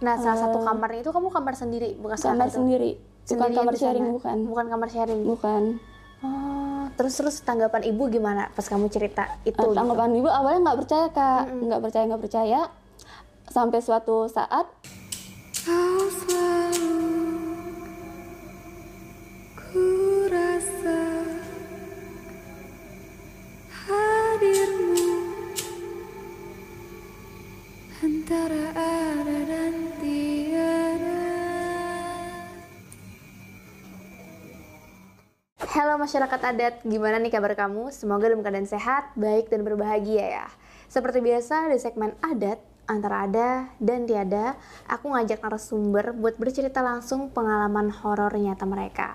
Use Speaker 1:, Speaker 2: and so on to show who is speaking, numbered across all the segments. Speaker 1: Nah, salah satu kamarnya itu kamu kamar sendiri, bukan
Speaker 2: Oh. kamar
Speaker 1: satu-
Speaker 2: sendiri bukan
Speaker 1: sendirian
Speaker 2: kamar
Speaker 1: di sana?
Speaker 2: sharing bukan Hmm.
Speaker 1: Bukan kamar sharing.
Speaker 2: bukan Eh,
Speaker 1: Oh, terus terus tanggapan ibu gimana pas kamu cerita itu?
Speaker 2: Eh,
Speaker 1: gitu?
Speaker 2: tanggapan ibu awalnya nggak percaya kak
Speaker 1: Mm-mm.
Speaker 2: nggak percaya nggak percaya sampai suatu saat
Speaker 3: Kau selalu ku rasa hadirmu antara ada dan tiada.
Speaker 1: Halo masyarakat adat, gimana nih kabar kamu? Semoga dalam keadaan sehat, baik, dan berbahagia ya. Seperti biasa di segmen adat, antara ada dan tiada, aku ngajak narasumber buat bercerita langsung pengalaman horor nyata mereka.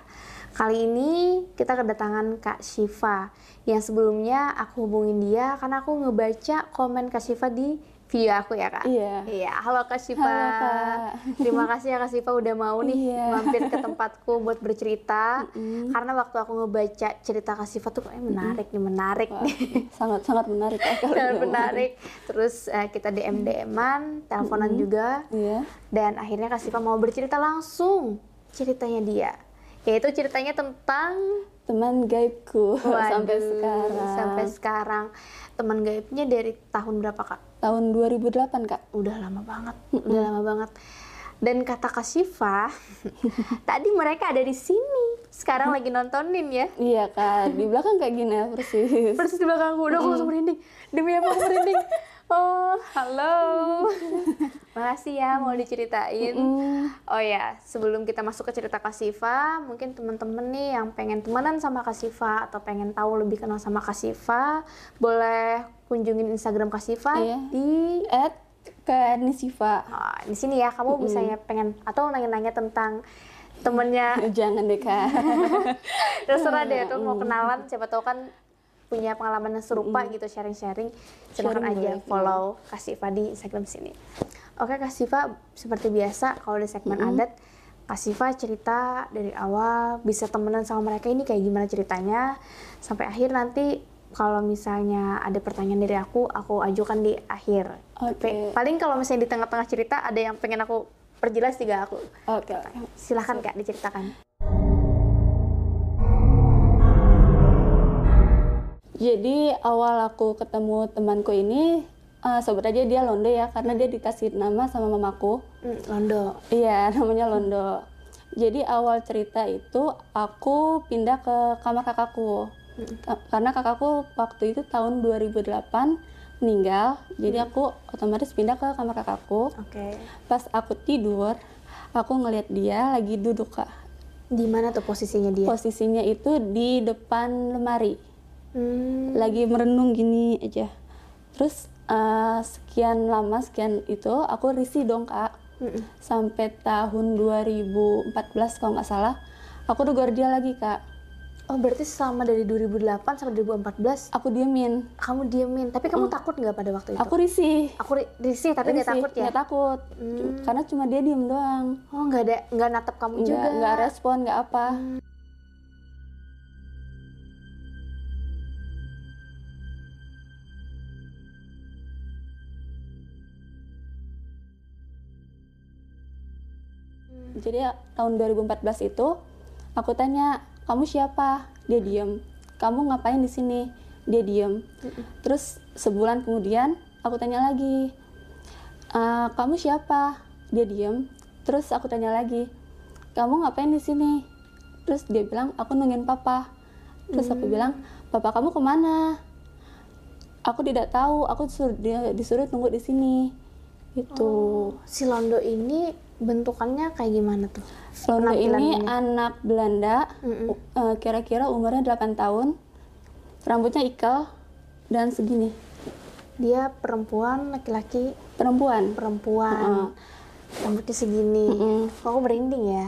Speaker 1: Kali ini kita kedatangan Kak Syifa, yang sebelumnya aku hubungin dia karena aku ngebaca komen Kak Syifa di video aku ya Kak.
Speaker 2: Iya.
Speaker 1: Iya, halo Kak Syifa.
Speaker 2: Halo, Kak.
Speaker 1: Terima kasih ya Kak Syifa udah mau nih
Speaker 2: Iya.
Speaker 1: mampir ke tempatku buat bercerita karena waktu aku ngebaca cerita Kak Siva tuh kayak menarik nih menarik
Speaker 2: wah, Iya.
Speaker 1: nih
Speaker 2: sangat sangat menarik Kak, kalau
Speaker 1: Dan
Speaker 2: diomongin.
Speaker 1: menarik terus eh, kita DM DMan teleponan juga
Speaker 2: iya
Speaker 1: dan akhirnya Kak Siva mau bercerita langsung ceritanya dia yaitu ceritanya tentang
Speaker 2: teman gaibku Oh, sampai
Speaker 1: Waduh,
Speaker 2: sekarang
Speaker 1: sampai sekarang teman gaibnya dari tahun berapa kak
Speaker 2: tahun 2008 kak
Speaker 1: udah lama banget udah lama banget dan kata Kak Siva tadi mereka ada di sini sekarang lagi nontonin ya
Speaker 2: iya kak di belakang kayak gini ya, persis
Speaker 1: persis di belakang gue udah aku langsung merinding demi apa aku merinding oh halo makasih ya mau diceritain
Speaker 2: Mm.
Speaker 1: oh ya sebelum kita masuk ke cerita Kak Siva mungkin temen-temen nih yang pengen temenan sama Kak Siva atau pengen tahu lebih kenal sama Kak Siva boleh kunjungin Instagram Kak Siva
Speaker 2: Iya.
Speaker 1: di
Speaker 2: at ke Nisiva
Speaker 1: oh, di sini ya kamu bisa ya pengen atau nanya-nanya tentang temennya
Speaker 2: jangan deh kak
Speaker 1: terserah deh tuh mau kenalan siapa tahu kan punya pengalaman yang serupa gitu sharing-sharing silakan
Speaker 2: Sharing
Speaker 1: aja
Speaker 2: boleh,
Speaker 1: follow Kak Siva di Instagram sini oke Kak Siva seperti biasa kalau di segmen adat Kak Siva cerita dari awal bisa temenan sama mereka ini kayak gimana ceritanya sampai akhir nanti kalau misalnya ada pertanyaan dari aku aku ajukan di akhir Tapi
Speaker 2: Oke.
Speaker 1: paling kalau misalnya di tengah-tengah cerita ada yang pengen aku perjelas juga aku
Speaker 2: oke
Speaker 1: silahkan Kak diceritakan
Speaker 2: Jadi awal aku ketemu temanku ini, eh sobat aja dia Londo ya, karena dia dikasih nama sama mamaku.
Speaker 1: Hmm, Londo
Speaker 2: Iya, namanya Londo. Jadi awal cerita itu aku pindah ke kamar kakakku. Ta- Karena kakakku waktu itu tahun 2008 meninggal, jadi aku otomatis pindah ke kamar kakakku.
Speaker 1: oke
Speaker 2: Pas aku tidur, aku ngeliat dia lagi duduk kak.
Speaker 1: Di mana tuh posisinya dia?
Speaker 2: Posisinya itu di depan lemari.
Speaker 1: Hmm,
Speaker 2: lagi merenung gini aja terus eh, sekian lama sekian itu aku risih dong kak
Speaker 1: mm-mm.
Speaker 2: sampai tahun 2014 kalau nggak salah aku tegur dia lagi kak
Speaker 1: Oh berarti selama dari 2008 sampai 2014
Speaker 2: aku diemin
Speaker 1: kamu diemin, tapi kamu takut nggak pada waktu itu?
Speaker 2: aku risih
Speaker 1: Mm. aku ri- risih Gitu. tapi nggak
Speaker 2: Risih,
Speaker 1: takut ya?
Speaker 2: nggak takut Cu-
Speaker 1: Hmm.
Speaker 2: karena cuma dia diem doang
Speaker 1: Oh nggak ada nggak natap kamu juga? Hmm.
Speaker 2: nggak nggak respon nggak apa Jadi ya, tahun 2014 itu aku tanya, "Kamu siapa?" Dia
Speaker 1: Hmm.
Speaker 2: diem. "Kamu ngapain di sini?" Dia diem.
Speaker 1: Hmm.
Speaker 2: Terus sebulan kemudian aku tanya lagi, "Eh, "Kamu siapa?" Dia diem. Terus aku tanya lagi, "Kamu ngapain di sini?" Terus dia bilang, "Aku nungguin papa." Terus
Speaker 1: Hmm.
Speaker 2: aku bilang, "Papa kamu kemana?" Aku tidak tahu. Aku disuruh, dia disuruh tunggu di sini.
Speaker 1: Oh,
Speaker 2: Gitu.
Speaker 1: Si Londo ini bentukannya kayak gimana tuh?
Speaker 2: Londo ini
Speaker 1: Penampilannya.
Speaker 2: anak Belanda,
Speaker 1: Mm-mm.
Speaker 2: u- eh, kira-kira umurnya 8 tahun, rambutnya ikal dan segini.
Speaker 1: Dia perempuan, laki-laki,
Speaker 2: Perempuan.
Speaker 1: perempuan. Rambutnya segini. Kok aku merinding ya?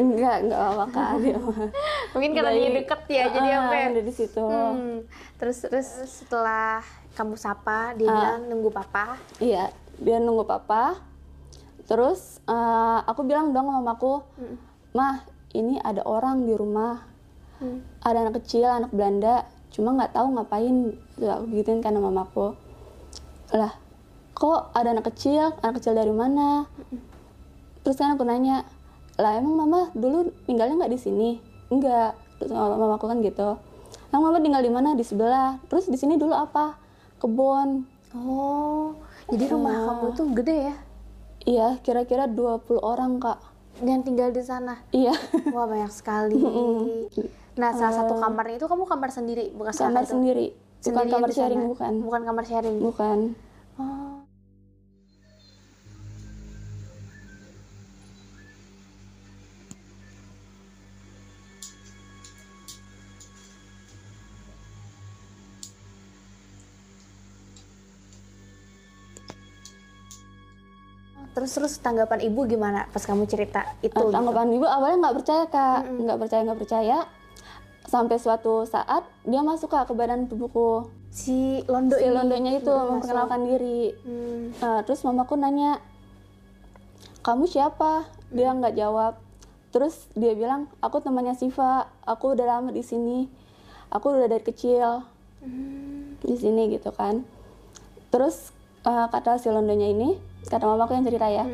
Speaker 2: Enggak, enggak apa-apa Kak, dia mah.
Speaker 1: Mungkin karena
Speaker 2: Baik.
Speaker 1: dia deket ya, jadi
Speaker 2: Ah,
Speaker 1: aku kayak
Speaker 2: ada di situ.
Speaker 1: Hmm, terus terus Ah. setelah kamu sapa dia bilang nunggu papa.
Speaker 2: Iya, dia nunggu papa. Terus eh, aku bilang dong sama mamaku, "Mah, ini ada orang di rumah. Ada anak kecil, anak Belanda, cuma nggak tahu ngapain." Tuh, aku gituin kan sama mamaku. Lah, kok ada anak kecil anak kecil dari mana terus kan aku nanya lah emang mama dulu tinggalnya nggak di sini enggak terus sama mama aku kan gitu emang mama tinggal di mana di sebelah terus di sini dulu apa kebun
Speaker 1: Oh, jadi rumah
Speaker 2: Oh.
Speaker 1: kamu tuh gede ya?
Speaker 2: iya kira-kira 20 orang kak
Speaker 1: Dan tinggal di sana.
Speaker 2: iya
Speaker 1: Wah, banyak sekali. Nah, salah satu kamarnya itu kamu kamar sendiri, bukan
Speaker 2: kamar
Speaker 1: kakak tuh?
Speaker 2: sendiri bukan
Speaker 1: Sendirian
Speaker 2: kamar
Speaker 1: di sana?
Speaker 2: sharing bukan
Speaker 1: Bukan kamar sharing.
Speaker 2: bukan
Speaker 1: Oh. Terus terus tanggapan ibu gimana pas kamu cerita itu?
Speaker 2: Nah,
Speaker 1: gitu?
Speaker 2: tanggapan ibu awalnya nggak percaya kak nggak percaya nggak percaya sampai suatu saat dia masuk kak ke badan tubuhku
Speaker 1: Gitu. Si Londo
Speaker 2: si
Speaker 1: ini. gitu
Speaker 2: londonya itu
Speaker 1: Masuk.
Speaker 2: memperkenalkan diri
Speaker 1: Hmm.
Speaker 2: Nah, terus mamaku nanya, kamu siapa? Dia
Speaker 1: Mm.
Speaker 2: nggak jawab. Terus dia bilang, aku temannya Siva. Aku udah lama di sini. Aku udah dari kecil di sini gitu kan. Terus eh, kata si Londonya ini, kata mamaku yang cerita
Speaker 1: Hmm.
Speaker 2: ya,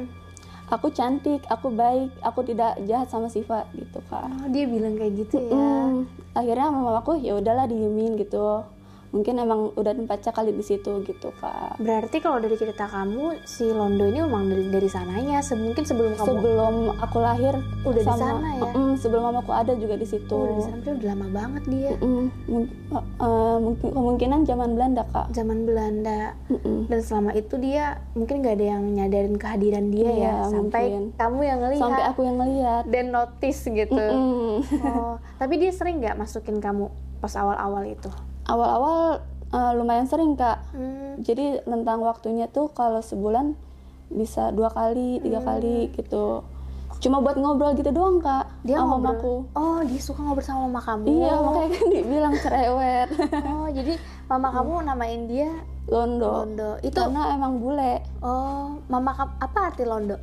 Speaker 2: aku cantik, aku baik, aku tidak jahat sama Siva gitu kan.
Speaker 1: Oh, dia bilang kayak gitu ya.
Speaker 2: Hmm, akhirnya mama aku ya udahlah diemin gitu. Mungkin emang udah tempatnya kali di situ gitu kan.
Speaker 1: Berarti kalau dari cerita kamu, si Londo ini memang dari, dari sananya, se- mungkin sebelum kamu
Speaker 2: sebelum aku lahir
Speaker 1: Udah di sana ya?
Speaker 2: Mm, sebelum mamaku ada juga di situ
Speaker 1: udah di sana, berarti udah lama banget dia.
Speaker 2: Mm, mung- eh, mungkin- kemungkinan zaman Belanda kak
Speaker 1: Zaman Belanda.
Speaker 2: Mm-mm.
Speaker 1: Dan selama itu dia mungkin gak ada yang nyadarin kehadiran dia
Speaker 2: Iya,
Speaker 1: ya, sampai
Speaker 2: mungkin.
Speaker 1: kamu yang ngelihat
Speaker 2: sampai aku yang ngeliat
Speaker 1: dan notice gitu.
Speaker 2: Mm.
Speaker 1: Oh, tapi dia sering nggak masukin kamu pas awal-awal itu?
Speaker 2: awal-awal eh, lumayan sering kak
Speaker 1: Hmm,
Speaker 2: jadi rentang waktunya tuh kalau sebulan bisa dua
Speaker 1: Hmm.
Speaker 2: kali tiga kali gitu cuma buat ngobrol gitu doang kak
Speaker 1: dia
Speaker 2: sama
Speaker 1: ngobrol.
Speaker 2: mamaku
Speaker 1: Oh, dia suka ngobrol sama mama kamu.
Speaker 2: iya makanya kan dibilang cerewet
Speaker 1: Oh, jadi mama kamu namain dia
Speaker 2: londo
Speaker 1: Londo. Itu
Speaker 2: karena emang bule
Speaker 1: oh, mama kamu apa arti Londo?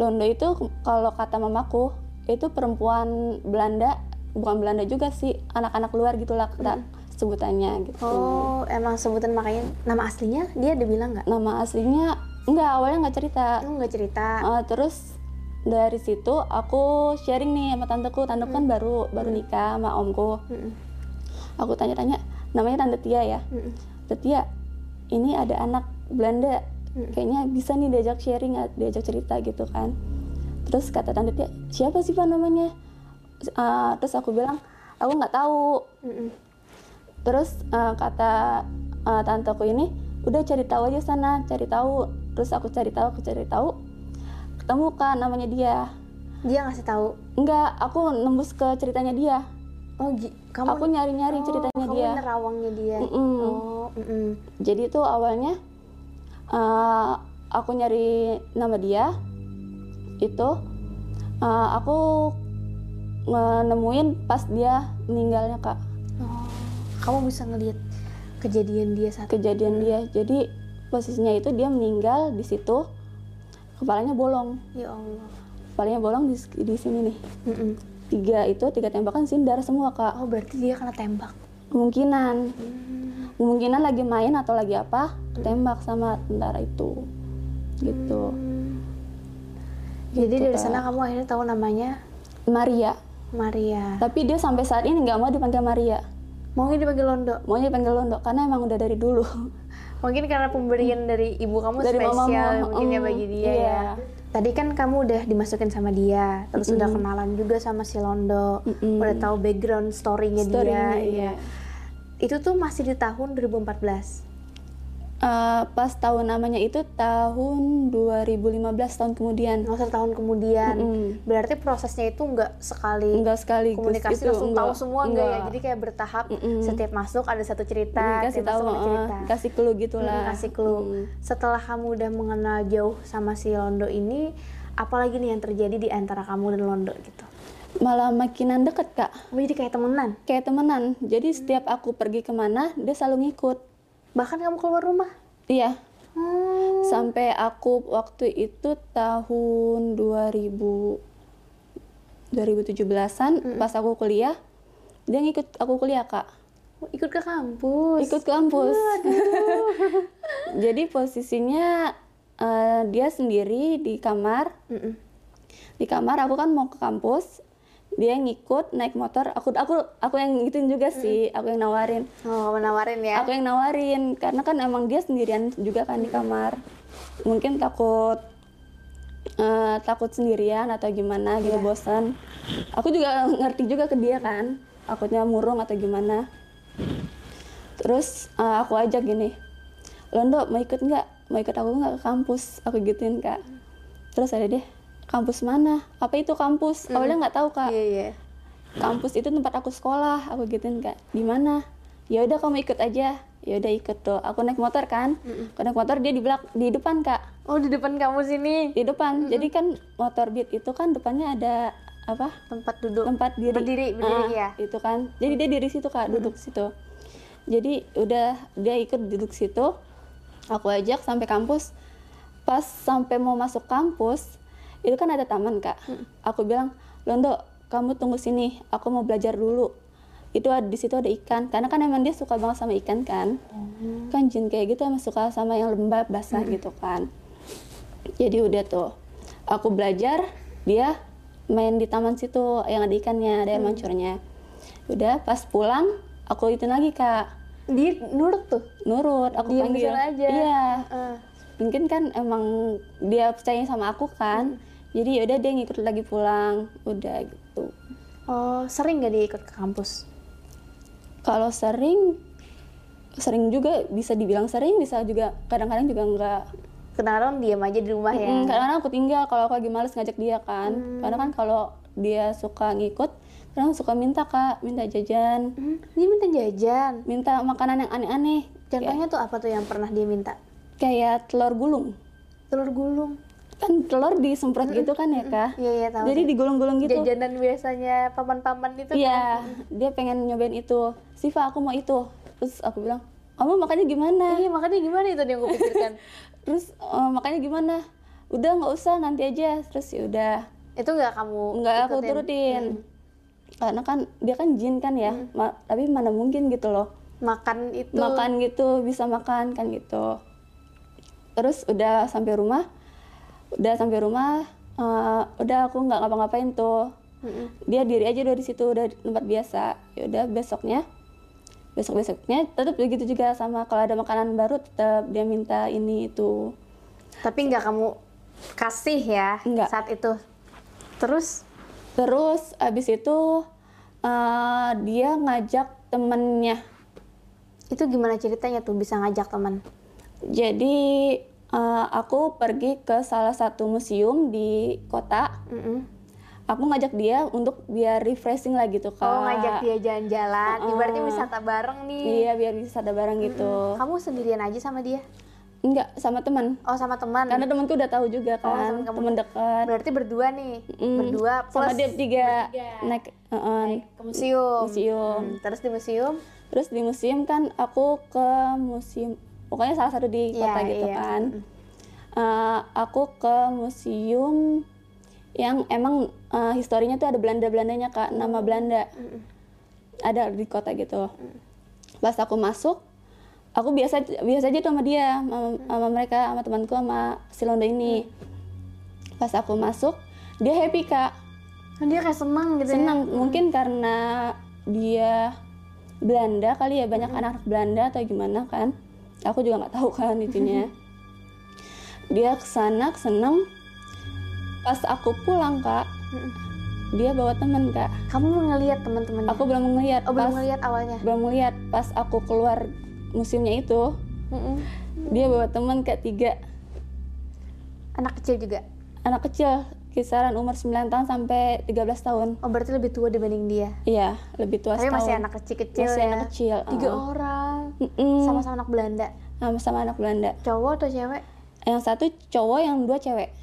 Speaker 2: Londo itu k- kalau kata mamaku itu perempuan Belanda bukan Belanda juga sih anak-anak luar gitulah kata sebutannya gitu
Speaker 1: Hmm. Oh, emang sebutan makanya nama aslinya dia ada bilang nggak?
Speaker 2: nama aslinya nggak awalnya nggak cerita
Speaker 1: Lu nggak cerita.
Speaker 2: Eh, terus dari situ aku sharing nih sama tanteku tanteku kan baru baru nikah sama omku
Speaker 1: Mm-mm.
Speaker 2: aku tanya-tanya namanya tante Tia ya
Speaker 1: Mm-mm.
Speaker 2: tante Tia ini ada anak Belanda
Speaker 1: Mm.
Speaker 2: kayaknya bisa nih diajak sharing diajak cerita gitu kan terus kata tante Tia siapa sih pak namanya Eh, terus aku bilang aku nggak tahu
Speaker 1: Mm-mm.
Speaker 2: terus eh, kata eh, tanteku ini udah cari tahu aja sana cari tahu terus aku cari tahu aku cari tahu ketemu kan namanya dia
Speaker 1: Dia ngasih tahu.
Speaker 2: enggak aku nembus ke ceritanya dia
Speaker 1: Oh, gi- kamu
Speaker 2: aku nyari-nyari
Speaker 1: Oh,
Speaker 2: ceritanya
Speaker 1: kamu
Speaker 2: dia
Speaker 1: nerawangnya dia.
Speaker 2: Mm-mm.
Speaker 1: Oh, mm-mm.
Speaker 2: jadi itu awalnya eh, aku nyari nama dia itu eh, aku nge- nemuin pas dia meninggalnya kak
Speaker 1: Oh, kamu bisa ngelihat kejadian dia saat
Speaker 2: kejadian dia jadi posisinya itu dia meninggal di situ kepalanya bolong
Speaker 1: ya Allah.
Speaker 2: kepalanya bolong di, s- di sini nih
Speaker 1: Mm-mm.
Speaker 2: tiga itu tiga tembakan sini darah semua kak
Speaker 1: Oh, berarti dia kena tembak.
Speaker 2: kemungkinan kemungkinan lagi main atau lagi apa tembak sama tentara itu gitu
Speaker 1: Jadi
Speaker 2: Gitu,
Speaker 1: dari
Speaker 2: Kak.
Speaker 1: sana kamu akhirnya tahu namanya
Speaker 2: Maria
Speaker 1: Maria.
Speaker 2: Tapi dia sampai saat ini nggak mau dipanggil Maria.
Speaker 1: Maunya dipanggil Londo.
Speaker 2: Maunya dipanggil Londo karena emang udah dari dulu.
Speaker 1: Mungkin karena pemberian dari ibu kamu
Speaker 2: Hmm. Dari
Speaker 1: spesial
Speaker 2: mama, mama,
Speaker 1: mungkin ya
Speaker 2: mm,
Speaker 1: bagi dia
Speaker 2: iya.
Speaker 1: ya. Tadi kan kamu udah dimasukin sama dia, terus udah kenalan juga sama si Londo,
Speaker 2: Mm-mm.
Speaker 1: udah tahu background story-nya dia.
Speaker 2: Story-nya,
Speaker 1: iya.
Speaker 2: iya.
Speaker 1: Itu tuh masih di tahun 2014.
Speaker 2: Eh, pas tahun namanya itu tahun 2015 tahun kemudian.
Speaker 1: Nggak usah tahun kemudian.
Speaker 2: Mm-mm.
Speaker 1: Berarti prosesnya itu nggak sekali
Speaker 2: Enggak sekali
Speaker 1: komunikasi langsung tahu semua enggak, ya. Jadi kayak bertahap
Speaker 2: Mm-mm.
Speaker 1: setiap masuk ada satu cerita,
Speaker 2: kasih
Speaker 1: setiap
Speaker 2: tahu,
Speaker 1: masuk ada
Speaker 2: eh,
Speaker 1: cerita.
Speaker 2: kasih clue gitu
Speaker 1: Hmm,
Speaker 2: lah.
Speaker 1: kasih clue.
Speaker 2: Mm.
Speaker 1: Setelah kamu udah mengenal jauh sama si Londo ini, apalagi nih yang terjadi di antara kamu dan Londo gitu?
Speaker 2: Malah makinan deket kak,
Speaker 1: Oh, jadi kayak temenan.
Speaker 2: kayak temenan. Jadi setiap aku pergi kemana dia selalu ngikut.
Speaker 1: Bahkan kamu keluar rumah.
Speaker 2: Iya.
Speaker 1: Hmm.
Speaker 2: Sampai aku waktu itu tahun 2000 2017-an pas aku kuliah dia ngikut aku kuliah kak
Speaker 1: ikut ke kampus.
Speaker 2: ikut ke kampus. Jadi posisinya eh, dia sendiri di kamar,
Speaker 1: Mm-mm.
Speaker 2: di kamar aku kan mau ke kampus, dia ngikut naik motor, aku aku aku yang ngikutin juga sih, aku yang nawarin,
Speaker 1: Oh, menawarin ya.
Speaker 2: aku yang nawarin karena kan emang dia sendirian juga kan di kamar, mungkin takut eh, takut sendirian atau gimana gitu
Speaker 1: Iya.
Speaker 2: bosan. Aku juga ngerti juga ke dia kan, takutnya murung atau gimana. Terus eh, aku ajak gini, Londo mau ikut nggak? Mau ikut aku nggak ke kampus? Aku gituin kak. Terus ada deh, kampus mana? Apa itu kampus? Awalnya nggak tahu kak.
Speaker 1: Iya, iya.
Speaker 2: Kampus itu tempat aku sekolah. Aku gituin kak. Di mana? Ya udah kamu ikut aja. Ya udah ikut tuh. Aku naik motor kan. Aku naik motor dia di belak di depan kak.
Speaker 1: Oh, di depan kamu sini
Speaker 2: Di depan. Jadi kan motor beat itu kan depannya ada apa?
Speaker 1: tempat duduk.
Speaker 2: tempat diri
Speaker 1: Berdiri, berdiri,
Speaker 2: Ah,
Speaker 1: ya.
Speaker 2: itu kan jadi dia diri situ kak duduk situ jadi udah dia ikut duduk situ aku ajak sampai kampus pas sampai mau masuk kampus itu kan ada taman kak
Speaker 1: Mm.
Speaker 2: aku bilang Londo kamu tunggu sini aku mau belajar dulu itu ada di situ ada ikan karena kan emang dia suka banget sama ikan kan
Speaker 1: Oh.
Speaker 2: kan jin kayak gitu emang suka sama yang lembab basah gitu kan jadi udah tuh aku belajar dia main di taman situ yang ada ikannya ada air
Speaker 1: Hmm.
Speaker 2: mancurnya udah pas pulang aku itu lagi kak
Speaker 1: Dia nurut tuh.
Speaker 2: nurut aku
Speaker 1: Diem di
Speaker 2: panggil
Speaker 1: sana aja.
Speaker 2: iya
Speaker 1: Heeh.
Speaker 2: mungkin kan emang dia percaya sama aku
Speaker 1: Hmm.
Speaker 2: kan jadi yaudah dia ngikut lagi pulang udah gitu
Speaker 1: Oh, sering gak dia ikut ke kampus?
Speaker 2: kalau sering sering juga bisa dibilang sering bisa juga kadang-kadang juga enggak
Speaker 1: Kadang-kadang diam aja di rumah ya.
Speaker 2: Mm, kadang-kadang aku tinggal kalau aku lagi males ngajak dia kan
Speaker 1: Hmm.
Speaker 2: karena kan kalau dia suka ngikut kadang suka minta kak minta jajan
Speaker 1: Hmm, dia minta jajan.
Speaker 2: minta makanan yang aneh-aneh
Speaker 1: Contohnya tuh apa tuh yang pernah dia minta?
Speaker 2: kayak telur gulung
Speaker 1: Telur gulung.
Speaker 2: kan telur disemprot gitu kan ya kak
Speaker 1: Iya, iya tahu.
Speaker 2: jadi digulung-gulung gitu
Speaker 1: jajanan biasanya paman-paman itu kan.
Speaker 2: iya dia pengen nyobain itu Siva aku mau itu terus aku bilang kamu makannya gimana
Speaker 1: kan. Iya, makanya gimana itu yang gue pikirkan.
Speaker 2: terus eh, makannya gimana udah nggak usah nanti aja terus ya udah
Speaker 1: itu nggak kamu
Speaker 2: nggak aku
Speaker 1: ikutin?
Speaker 2: turutin karena kan dia kan jin kan ya ma- tapi mana mungkin gitu loh
Speaker 1: Makan itu.
Speaker 2: makan gitu bisa makan kan gitu terus udah sampai rumah udah sampai rumah eh, udah aku nggak ngapa-ngapain tuh
Speaker 1: Mm-mm.
Speaker 2: dia diri aja dari situ udah di tempat biasa ya udah besoknya besok besoknya tetap begitu juga sama kalau ada makanan baru tetap dia minta ini itu
Speaker 1: Tapi nggak kamu kasih ya
Speaker 2: Nggak.
Speaker 1: saat itu. Terus
Speaker 2: Terus abis itu eh, dia ngajak temennya.
Speaker 1: itu gimana ceritanya tuh bisa ngajak teman?
Speaker 2: Jadi eh, aku pergi ke salah satu museum di kota.
Speaker 1: Mm-mm.
Speaker 2: Aku ngajak dia untuk biar refreshing lah gitu kak.
Speaker 1: Oh ngajak dia jalan-jalan,
Speaker 2: Uh-uh.
Speaker 1: ibaratnya wisata bareng nih.
Speaker 2: Iya biar bisa ada bareng gitu.
Speaker 1: Kamu sendirian aja sama dia?
Speaker 2: Enggak sama teman.
Speaker 1: Oh sama teman.
Speaker 2: Karena temanku udah tahu juga
Speaker 1: Oh, sama
Speaker 2: kan,
Speaker 1: kamu.
Speaker 2: teman dekat.
Speaker 1: Berarti berdua nih,
Speaker 2: Mm,
Speaker 1: berdua plus
Speaker 2: sama dia bertiga
Speaker 1: bertiga.
Speaker 2: naik eh, eh.
Speaker 1: ke museum.
Speaker 2: Museum.
Speaker 1: Hmm, terus di museum,
Speaker 2: Terus di museum kan aku ke museum, pokoknya salah satu di
Speaker 1: Iya,
Speaker 2: kota gitu
Speaker 1: iya.
Speaker 2: kan. Eh, aku ke museum yang emang eh, historinya tuh ada Belanda-Belandanya kak, nama Belanda. Ada di kota gitu. Pas aku masuk, aku biasa biasa aja tuh sama dia, sama, sama mereka, sama temanku, sama si Londo ini. Pas aku masuk, dia happy kak
Speaker 1: Kan dia kayak seneng gitu ya.
Speaker 2: senang mungkin karena dia Belanda kali ya banyak anak Belanda atau gimana kan aku juga nggak tahu kan itunya dia kesana seneng pas aku pulang kak
Speaker 1: Mm-mm.
Speaker 2: dia bawa temen kak
Speaker 1: Hmm. Kamu ngelihat teman-teman.
Speaker 2: aku belum ngeliat
Speaker 1: Mm. oh,
Speaker 2: pas
Speaker 1: belum ngelihat awalnya.
Speaker 2: belum ngeliat pas aku keluar musimnya itu
Speaker 1: Mm-mm. Mm.
Speaker 2: dia bawa temen kak tiga
Speaker 1: Anak kecil juga.
Speaker 2: anak kecil kisaran umur 9 tahun sampai 13 tahun
Speaker 1: Oh, berarti lebih tua dibanding dia.
Speaker 2: iya lebih tua
Speaker 1: Tapi masih
Speaker 2: setahun.
Speaker 1: anak kecil-kecil
Speaker 2: Masih
Speaker 1: ya.
Speaker 2: anak kecil
Speaker 1: Tiga oh.
Speaker 2: uh-uh.
Speaker 1: orang.
Speaker 2: Mm-mm.
Speaker 1: Sama-sama anak Belanda.
Speaker 2: sama sama anak Belanda.
Speaker 1: Cowok atau cewek?
Speaker 2: Yang satu cowok, yang dua cewek.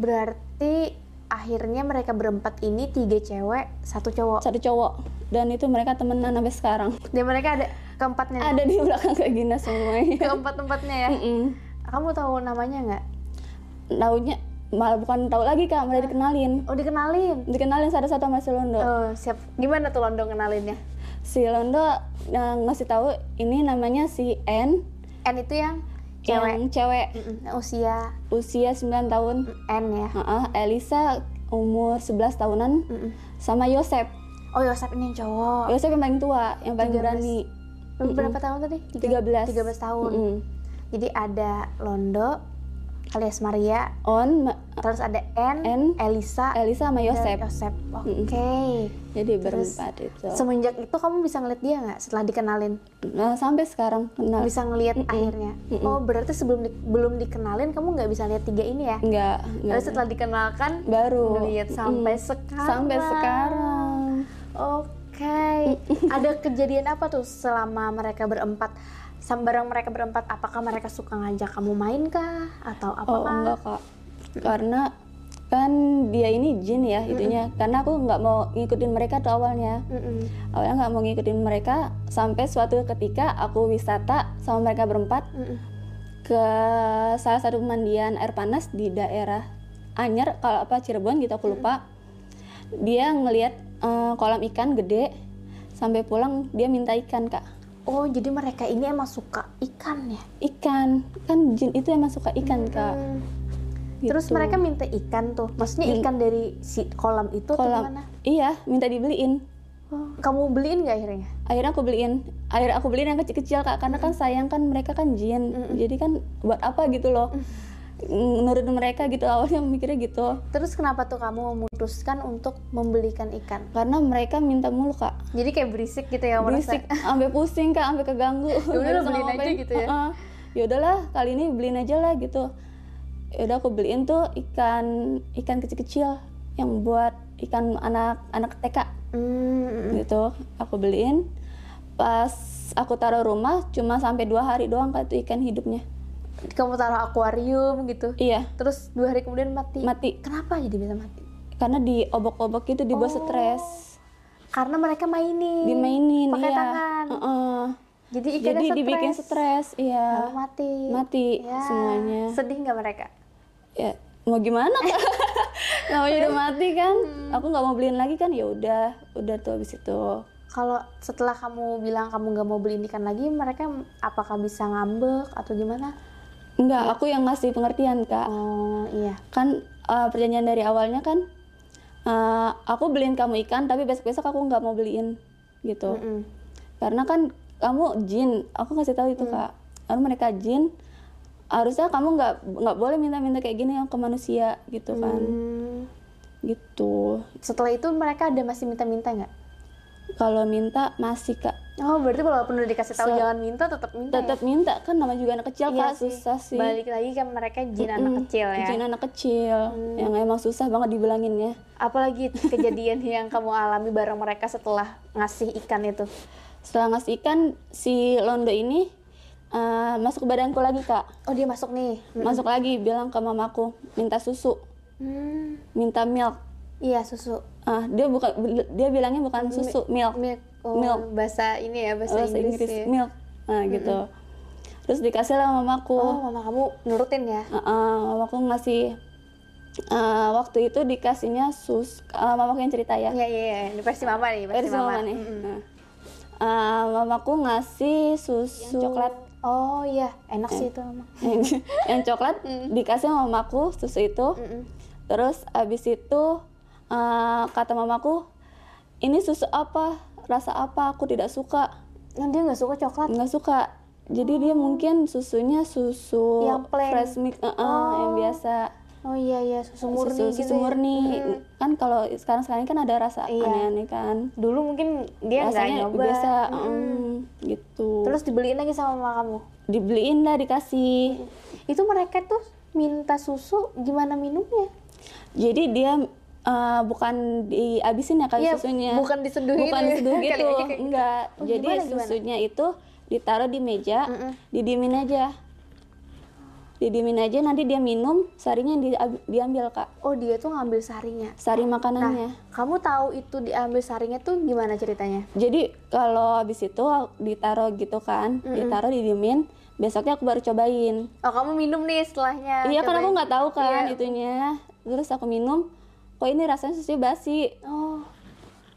Speaker 1: Berarti akhirnya mereka berempat ini tiga cewek, satu cowok.
Speaker 2: Satu cowok dan itu mereka temenan sampai sekarang.
Speaker 1: Dan mereka ada keempatnya.
Speaker 2: Ada Iya. di belakang Kak Gina semuanya.
Speaker 1: Keempat-empatnya ya.
Speaker 2: Mm-mm.
Speaker 1: Kamu tahu namanya nggak?
Speaker 2: Taunya malah bukan tahu lagi Kak, malah dikenalin.
Speaker 1: Oh, dikenalin.
Speaker 2: Dikenalin satu-satu sama si Londo.
Speaker 1: Oh, siap. Gimana tuh Londo kenalinnya?
Speaker 2: si Londo eh, ngasih tahu ini namanya si N
Speaker 1: N itu yang cewek.
Speaker 2: yang cewek
Speaker 1: Mm-mm, Usia
Speaker 2: usia 9 tahun.
Speaker 1: N ya.
Speaker 2: Heeh, Elisa umur 11 tahunan
Speaker 1: Mm-mm.
Speaker 2: sama Yosep.
Speaker 1: Oh Yosep ini yang cowok.
Speaker 2: Yosep yang paling tua, yang paling
Speaker 1: 13.
Speaker 2: berani.
Speaker 1: Berapa tahun tadi? Tiga-
Speaker 2: 13.
Speaker 1: 13 tahun.
Speaker 2: Mm-mm.
Speaker 1: Jadi ada Londo alias Maria,
Speaker 2: On Ma-
Speaker 1: terus ada N,
Speaker 2: N,
Speaker 1: Elisa,
Speaker 2: Elisa sama
Speaker 1: dan
Speaker 2: Yosep.
Speaker 1: Yosep. Oke.
Speaker 2: Mm-mm. Jadi berempat itu.
Speaker 1: Semenjak itu kamu bisa ngeliat dia nggak setelah dikenalin?
Speaker 2: Nah, sampai sekarang kenal
Speaker 1: Bisa ngeliat akhirnya.
Speaker 2: Mm-mm.
Speaker 1: Oh berarti sebelum di- belum dikenalin kamu nggak bisa lihat tiga ini ya?
Speaker 2: enggak
Speaker 1: Tapi
Speaker 2: enggak
Speaker 1: setelah dikenalkan
Speaker 2: baru
Speaker 1: ngeliat
Speaker 2: Mm-mm.
Speaker 1: sampai sekarang.
Speaker 2: sampai sekarang.
Speaker 1: Oke. Ada kejadian apa tuh selama mereka berempat? Sambarang mereka berempat, apakah mereka suka ngajak kamu main kah? Atau apa?
Speaker 2: Oh enggak kak, karena kan dia ini jin ya itunya. Karena aku nggak mau ngikutin mereka tuh awalnya. Awalnya nggak mau ngikutin mereka sampai suatu ketika aku wisata sama mereka berempat ke salah satu pemandian air panas di daerah Anyer kalau apa Cirebon gitu aku lupa. Dia ngelihat eh, kolam ikan gede sampai pulang dia minta ikan kak.
Speaker 1: Oh, jadi mereka ini emang suka ikan ya?
Speaker 2: Ikan kan jin itu emang suka ikan kak.
Speaker 1: Hmm.
Speaker 2: Gitu.
Speaker 1: Terus mereka minta ikan tuh. Maksudnya
Speaker 2: Min-
Speaker 1: ikan dari si kolam itu atau
Speaker 2: kolam
Speaker 1: gimana?
Speaker 2: iya minta dibeliin.
Speaker 1: Oh, Kamu beliin nggak akhirnya?
Speaker 2: akhirnya aku beliin akhir aku beliin yang kecil-kecil kak karena kan
Speaker 1: Hmm.
Speaker 2: sayang kan mereka kan jin jadi kan buat apa gitu loh
Speaker 1: Hmm.
Speaker 2: menurut mereka gitu awalnya mikirnya gitu
Speaker 1: Terus kenapa tuh kamu memutuskan untuk membelikan ikan?
Speaker 2: karena mereka minta mulu kak
Speaker 1: Jadi kayak berisik gitu ya kamu rasa?
Speaker 2: berisik sampai pusing kak sampai keganggu
Speaker 1: Ya udah,
Speaker 2: Nggak bisa
Speaker 1: beliin aja
Speaker 2: ngapa-ngapain.
Speaker 1: gitu ya?
Speaker 2: Heeh. ya udahlah kali ini beliin aja lah gitu ya udah aku beliin tuh ikan ikan kecil-kecil yang buat ikan anak anak TK
Speaker 1: Hmm,
Speaker 2: gitu aku beliin pas aku taruh rumah cuma sampai dua hari doang kak itu ikan hidupnya
Speaker 1: kamu taruh akuarium gitu.
Speaker 2: iya
Speaker 1: Terus dua hari kemudian mati.
Speaker 2: mati
Speaker 1: Kenapa jadi bisa mati?
Speaker 2: karena diobok-obok gitu dibuat
Speaker 1: Oh.
Speaker 2: stres
Speaker 1: Karena mereka mainin.
Speaker 2: dimainin
Speaker 1: Pakai
Speaker 2: iya.
Speaker 1: tangan.
Speaker 2: Heeh.
Speaker 1: Jadi ikannya
Speaker 2: jadi dibikin stres iya
Speaker 1: Lalu mati.
Speaker 2: mati
Speaker 1: Ya.
Speaker 2: semuanya
Speaker 1: Sedih nggak mereka?
Speaker 2: ya mau gimana kak namanya udah mati kan aku nggak mau beliin lagi kan ya udah udah tuh habis itu
Speaker 1: Kalau setelah kamu bilang kamu nggak mau beliin ikan lagi, mereka apakah bisa ngambek atau gimana?
Speaker 2: enggak aku yang ngasih pengertian kak
Speaker 1: Oh iya.
Speaker 2: kan eh, perjanjian dari awalnya kan eh, aku beliin kamu ikan tapi besok besok aku nggak mau beliin gitu
Speaker 1: Mm-mm.
Speaker 2: karena kan kamu jin aku kasih tahu itu kak karena mereka jin harusnya kamu nggak nggak boleh minta-minta kayak gini ya ke manusia gitu kan
Speaker 1: Hmm.
Speaker 2: gitu
Speaker 1: Setelah itu mereka ada masih minta-minta nggak?
Speaker 2: kalau minta masih kak
Speaker 1: Oh berarti walaupun udah dikasih tahu
Speaker 2: Se-
Speaker 1: jangan minta, tetap minta. ya?
Speaker 2: tetap minta kan namanya juga anak kecil
Speaker 1: Iya
Speaker 2: kak
Speaker 1: sih.
Speaker 2: susah sih
Speaker 1: Balik lagi kan mereka jin anak
Speaker 2: Mm-mm,
Speaker 1: kecil ya. Hmm.
Speaker 2: jin anak kecil yang emang susah banget ya. dibilanginnya
Speaker 1: Apalagi kejadian yang kamu alami bareng mereka setelah ngasih ikan itu.
Speaker 2: setelah ngasih ikan si londo ini eh, masuk ke badanku lagi kak
Speaker 1: Oh dia masuk nih.
Speaker 2: masuk lagi bilang ke mamaku minta susu
Speaker 1: Hmm.
Speaker 2: minta milk
Speaker 1: Iya susu.
Speaker 2: ah dia bukan dia bilangnya bukan susu milk
Speaker 1: Milk. Oh,
Speaker 2: Milk.
Speaker 1: Bahasa ini ya bahasa,
Speaker 2: bahasa
Speaker 1: Inggris.
Speaker 2: Inggris
Speaker 1: ya.
Speaker 2: milk nah gitu terus dikasih lah mamaku
Speaker 1: Oh mama kamu nurutin ya.
Speaker 2: Ah, ah, mamaku ngasih ah, waktu itu dikasihnya sus ah, mamaku yang cerita ya
Speaker 1: Iya iya iya. Ini pasti mama nih. Pasti
Speaker 2: Dari si mama nih Nah. Ah, mamaku ngasih susu
Speaker 1: Coklat. Oh iya enak sih itu mama.
Speaker 2: yang coklat dikasih sama mamaku susu itu
Speaker 1: Mm. Mm-mm.
Speaker 2: terus abis itu ah, kata mamaku ini susu apa rasa apa aku tidak suka
Speaker 1: Nah, dia nggak suka coklat.
Speaker 2: nggak suka jadi dia mungkin susunya
Speaker 1: Oh.
Speaker 2: susu
Speaker 1: Yang plain.
Speaker 2: fresh milk eh, eh, yang biasa
Speaker 1: Oh iya iya susu
Speaker 2: susu
Speaker 1: murni gitu.
Speaker 2: susu
Speaker 1: ya.
Speaker 2: murni
Speaker 1: Mm-mm.
Speaker 2: kan kalau sekarang sekarang kan ada rasa
Speaker 1: Iya.
Speaker 2: aneh-aneh kan
Speaker 1: Dulu mungkin dia nggak
Speaker 2: rasanya
Speaker 1: nyoba.
Speaker 2: biasa
Speaker 1: Mm-mm.
Speaker 2: mm, gitu
Speaker 1: Terus dibeliin lagi sama mama kamu.
Speaker 2: dibeliin lah dikasih
Speaker 1: Itu mereka tuh minta susu gimana minumnya?
Speaker 2: jadi dia eh, bukan dihabisin ya kali
Speaker 1: Iya,
Speaker 2: susunya
Speaker 1: bukan diseduh
Speaker 2: bukan
Speaker 1: gitu.
Speaker 2: diseduh
Speaker 1: Kali
Speaker 2: gitu
Speaker 1: aja kayak-
Speaker 2: enggak
Speaker 1: Oh,
Speaker 2: jadi
Speaker 1: gimana, gimana?
Speaker 2: susunya itu ditaruh di meja
Speaker 1: Mm-mm.
Speaker 2: didiemin aja didiemin aja nanti dia minum sarinya yang dia- diambil kak
Speaker 1: Oh dia tuh ngambil saringnya.
Speaker 2: sari
Speaker 1: Nah,
Speaker 2: makanannya
Speaker 1: kamu tahu itu diambil saringnya tuh gimana ceritanya?
Speaker 2: jadi kalau habis itu ditaruh gitu kan ditaruh didiemin besoknya aku baru cobain
Speaker 1: Oh kamu minum nih setelahnya.
Speaker 2: iya kan
Speaker 1: Ah, cobain.
Speaker 2: aku nggak tahu kan
Speaker 1: Iya.
Speaker 2: itunya terus aku minum kok ini rasanya susunya basi
Speaker 1: Oh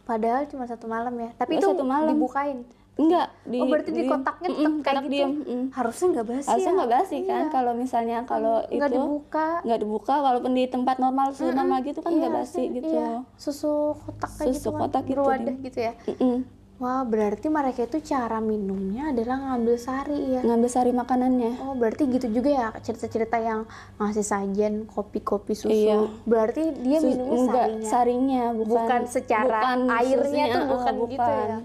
Speaker 1: Padahal cuma satu malam ya. Tapi itu
Speaker 2: Nggak Oh, satu malam.
Speaker 1: dibukain.
Speaker 2: Enggak di
Speaker 1: oh berarti di
Speaker 2: diem.
Speaker 1: kotaknya
Speaker 2: Mm-mm,
Speaker 1: tetap kayak
Speaker 2: kotak
Speaker 1: gitu.
Speaker 2: diem, mm.
Speaker 1: Harusnya nggak basi
Speaker 2: Harusnya
Speaker 1: ya?
Speaker 2: nggak basi kan
Speaker 1: Iya.
Speaker 2: kalau misalnya kalau itu
Speaker 1: Nggak dibuka.
Speaker 2: nggak dibuka walaupun di tempat normal suhu normal gitu kan
Speaker 1: Iya,
Speaker 2: nggak basi
Speaker 1: harusnya-
Speaker 2: gitu.
Speaker 1: iya. Susu kotak kayak
Speaker 2: Susu
Speaker 1: gitu kan.
Speaker 2: kotak gitu,
Speaker 1: Berwadah
Speaker 2: Dim.
Speaker 1: gitu ya.
Speaker 2: Mm-mm.
Speaker 1: Wah berarti mereka itu cara minumnya adalah ngambil sari ya.
Speaker 2: Ngambil sari makanannya.
Speaker 1: Oh berarti gitu juga ya cerita-cerita yang ngasih sajen kopi-kopi susu.
Speaker 2: Iya.
Speaker 1: Berarti dia
Speaker 2: Su-
Speaker 1: minumnya
Speaker 2: enggak,
Speaker 1: sarinya.
Speaker 2: sarinya bukan
Speaker 1: bukan secara
Speaker 2: bukan
Speaker 1: airnya
Speaker 2: susunya,
Speaker 1: tuh
Speaker 2: eh,
Speaker 1: bukan, gitu ya.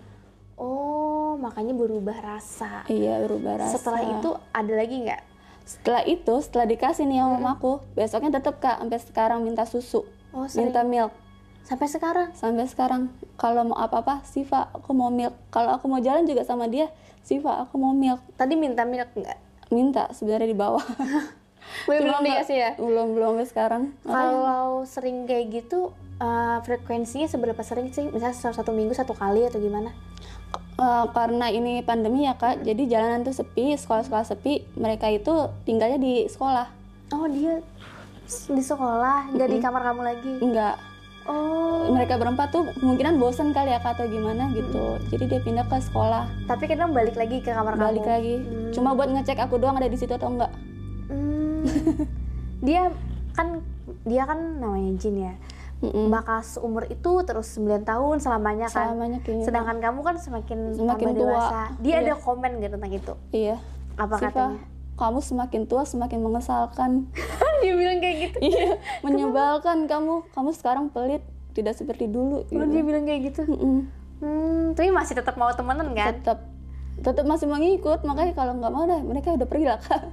Speaker 1: Oh makanya berubah rasa.
Speaker 2: Iya berubah rasa.
Speaker 1: Setelah itu ada lagi nggak?
Speaker 2: setelah itu setelah dikasih nih sama mamaku besoknya tetap kak sampai sekarang minta susu
Speaker 1: Oh sering.
Speaker 2: minta milk
Speaker 1: Sampai sekarang.
Speaker 2: sampai sekarang kalau mau apa apa Siva aku mau milk kalau aku mau jalan juga sama dia Siva aku mau milk
Speaker 1: Tadi minta milk nggak?
Speaker 2: minta sebenarnya di bawah
Speaker 1: Gue
Speaker 2: Cuma
Speaker 1: belum
Speaker 2: nggak-
Speaker 1: dikasih ya.
Speaker 2: belum belum sampai sekarang
Speaker 1: Kalau sering kayak gitu eh, frekuensinya seberapa sering sih? Misalnya satu, satu minggu satu kali atau gimana?
Speaker 2: Eh, karena ini pandemi ya kak jadi jalanan tuh sepi sekolah-sekolah sepi mereka itu tinggalnya di sekolah
Speaker 1: Oh dia s- di sekolah nggak di kamar kamu lagi?
Speaker 2: enggak
Speaker 1: Oh.
Speaker 2: mereka berempat tuh kemungkinan bosen kali ya kak atau gimana gitu
Speaker 1: Hmm.
Speaker 2: jadi dia pindah ke sekolah
Speaker 1: Tapi kadang balik lagi ke kamar kamu.
Speaker 2: balik lagi
Speaker 1: Hmm.
Speaker 2: cuma buat ngecek aku doang ada di situ atau enggak
Speaker 1: Hmm. dia kan dia kan namanya Jin ya.
Speaker 2: Mm-mm.
Speaker 1: Bakal seumur itu terus 9 tahun selamanya kan.
Speaker 2: selamanya kayaknya
Speaker 1: Sedangkan kamu kan semakin
Speaker 2: Semakin
Speaker 1: tambah
Speaker 2: tua.
Speaker 1: dewasa. Dia
Speaker 2: Iya.
Speaker 1: ada komen gak tentang itu?
Speaker 2: iya
Speaker 1: Apa
Speaker 2: Siva,
Speaker 1: katanya?
Speaker 2: kamu semakin tua semakin mengesalkan
Speaker 1: dia bilang kayak gitu.
Speaker 2: iya menyebalkan kamu kamu sekarang pelit tidak seperti dulu
Speaker 1: Oh, dia bilang kayak gitu. Hmm, tapi masih tetap mau temenan kan?
Speaker 2: tetap tetap masih mengikut makanya kalau nggak mau dah mereka udah pergi lah kak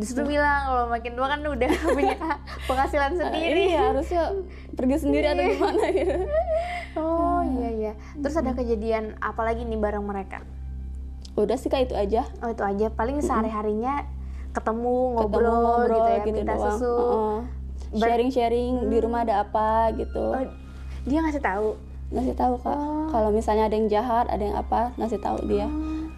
Speaker 1: Disitu bilang kalau makin tua kan udah punya penghasilan Kan sendiri.
Speaker 2: iya harusnya pergi sendiri atau gimana gitu
Speaker 1: Oh
Speaker 2: Hmm.
Speaker 1: iya iya. Terus ada kejadian apa lagi nih bareng mereka?
Speaker 2: udah sih kak itu aja
Speaker 1: Oh itu aja. Paling sehari harinya ketemu
Speaker 2: Hmm. Ketemu,
Speaker 1: ngobrol, gitu ya, minta
Speaker 2: doang. Oh.
Speaker 1: susu.
Speaker 2: Heeh.
Speaker 1: Ber-
Speaker 2: sharing-sharing di rumah ada apa gitu
Speaker 1: Oh, dia ngasih tahu.
Speaker 2: ngasih tahu kak kalau misalnya ada yang jahat ada yang apa ngasih tahu dia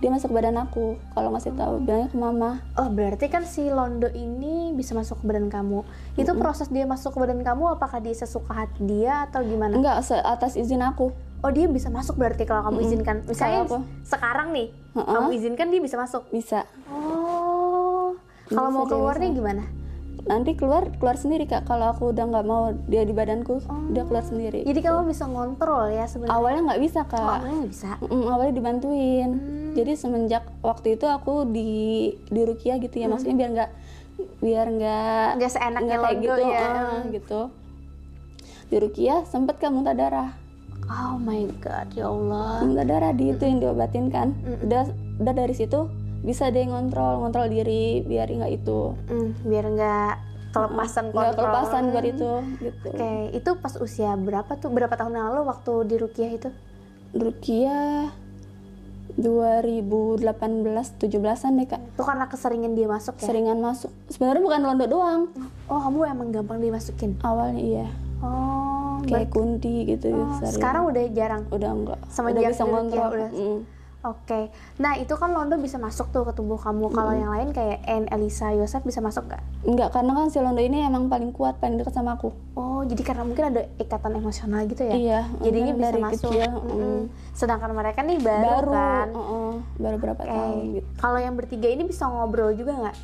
Speaker 2: dia masuk ke badan aku kalau ngasih tahu bilangnya ke mama
Speaker 1: Oh berarti kan si Londo ini bisa masuk ke badan kamu. Itu
Speaker 2: Hmm.
Speaker 1: proses dia masuk ke badan kamu apakah dia sesuka hati dia atau gimana?
Speaker 2: enggak se- atas izin aku
Speaker 1: Oh dia bisa masuk berarti kalau kamu izinkan. Misalnya
Speaker 2: Hmm. Kalau aku-
Speaker 1: sekarang nih
Speaker 2: Heeh.
Speaker 1: kamu izinkan dia bisa masuk.
Speaker 2: bisa
Speaker 1: Oh kalau
Speaker 2: Bisa,
Speaker 1: mau
Speaker 2: dia
Speaker 1: keluarnya gimana?
Speaker 2: nanti keluar keluar sendiri kak kalau aku udah nggak mau dia di badanku
Speaker 1: Oh.
Speaker 2: dia keluar sendiri
Speaker 1: Jadi kamu bisa ngontrol ya sebenarnya.
Speaker 2: awalnya nggak bisa
Speaker 1: Oh, Hmm.
Speaker 2: kak
Speaker 1: awalnya nggak bisa.
Speaker 2: Mm, awalnya dibantuin jadi semenjak waktu itu aku di di Rukia gitu ya maksudnya biar nggak biar nggak
Speaker 1: Hmm. Nggak seenaknya
Speaker 2: nggak kayak
Speaker 1: Londo
Speaker 2: gitu
Speaker 1: ya.
Speaker 2: eh, gitu di Rukia sempet kamu muntah darah
Speaker 1: Oh my god ya Allah.
Speaker 2: muntah darah di itu yang diobatin kan udah udah dari situ bisa deh ngontrol ngontrol diri biar nggak itu
Speaker 1: Mm, biar nggak kelepasan kontrol.
Speaker 2: nggak kelepasan buat itu gitu
Speaker 1: Oke, itu pas usia berapa tuh? Berapa tahun yang lalu waktu di Rukiah itu?
Speaker 2: Rukia 2018 17-an deh kak
Speaker 1: Itu karena keseringan dia masuk ya?
Speaker 2: seringan masuk sebenarnya bukan londo doang
Speaker 1: Oh, kamu emang gampang dimasukin?
Speaker 2: awalnya iya
Speaker 1: Oh,
Speaker 2: kayak
Speaker 1: ber-
Speaker 2: kunti gitu
Speaker 1: oh,
Speaker 2: sering.
Speaker 1: sekarang udah jarang?
Speaker 2: udah enggak
Speaker 1: Semenjak
Speaker 2: udah bisa
Speaker 1: dulu ya,
Speaker 2: ngontrol
Speaker 1: udah.
Speaker 2: Mm.
Speaker 1: Oke, nah itu kan Londo bisa masuk tuh ke tubuh kamu. Kalau yang lain kayak Anne, Elisa, Yosef bisa masuk nggak?
Speaker 2: enggak karena kan si londo ini emang paling kuat paling dekat sama aku
Speaker 1: Oh, jadi karena mungkin ada ikatan emosional gitu ya?
Speaker 2: Iya,
Speaker 1: Jadinya
Speaker 2: mungkin
Speaker 1: bisa
Speaker 2: dari
Speaker 1: masuk.
Speaker 2: kecil,
Speaker 1: Mm-mm.
Speaker 2: mm.
Speaker 1: Sedangkan mereka nih baru,
Speaker 2: baru
Speaker 1: kan?
Speaker 2: uh-uh, baru berapa
Speaker 1: Oke.
Speaker 2: tahun gitu
Speaker 1: Kalau yang bertiga ini bisa ngobrol juga nggak?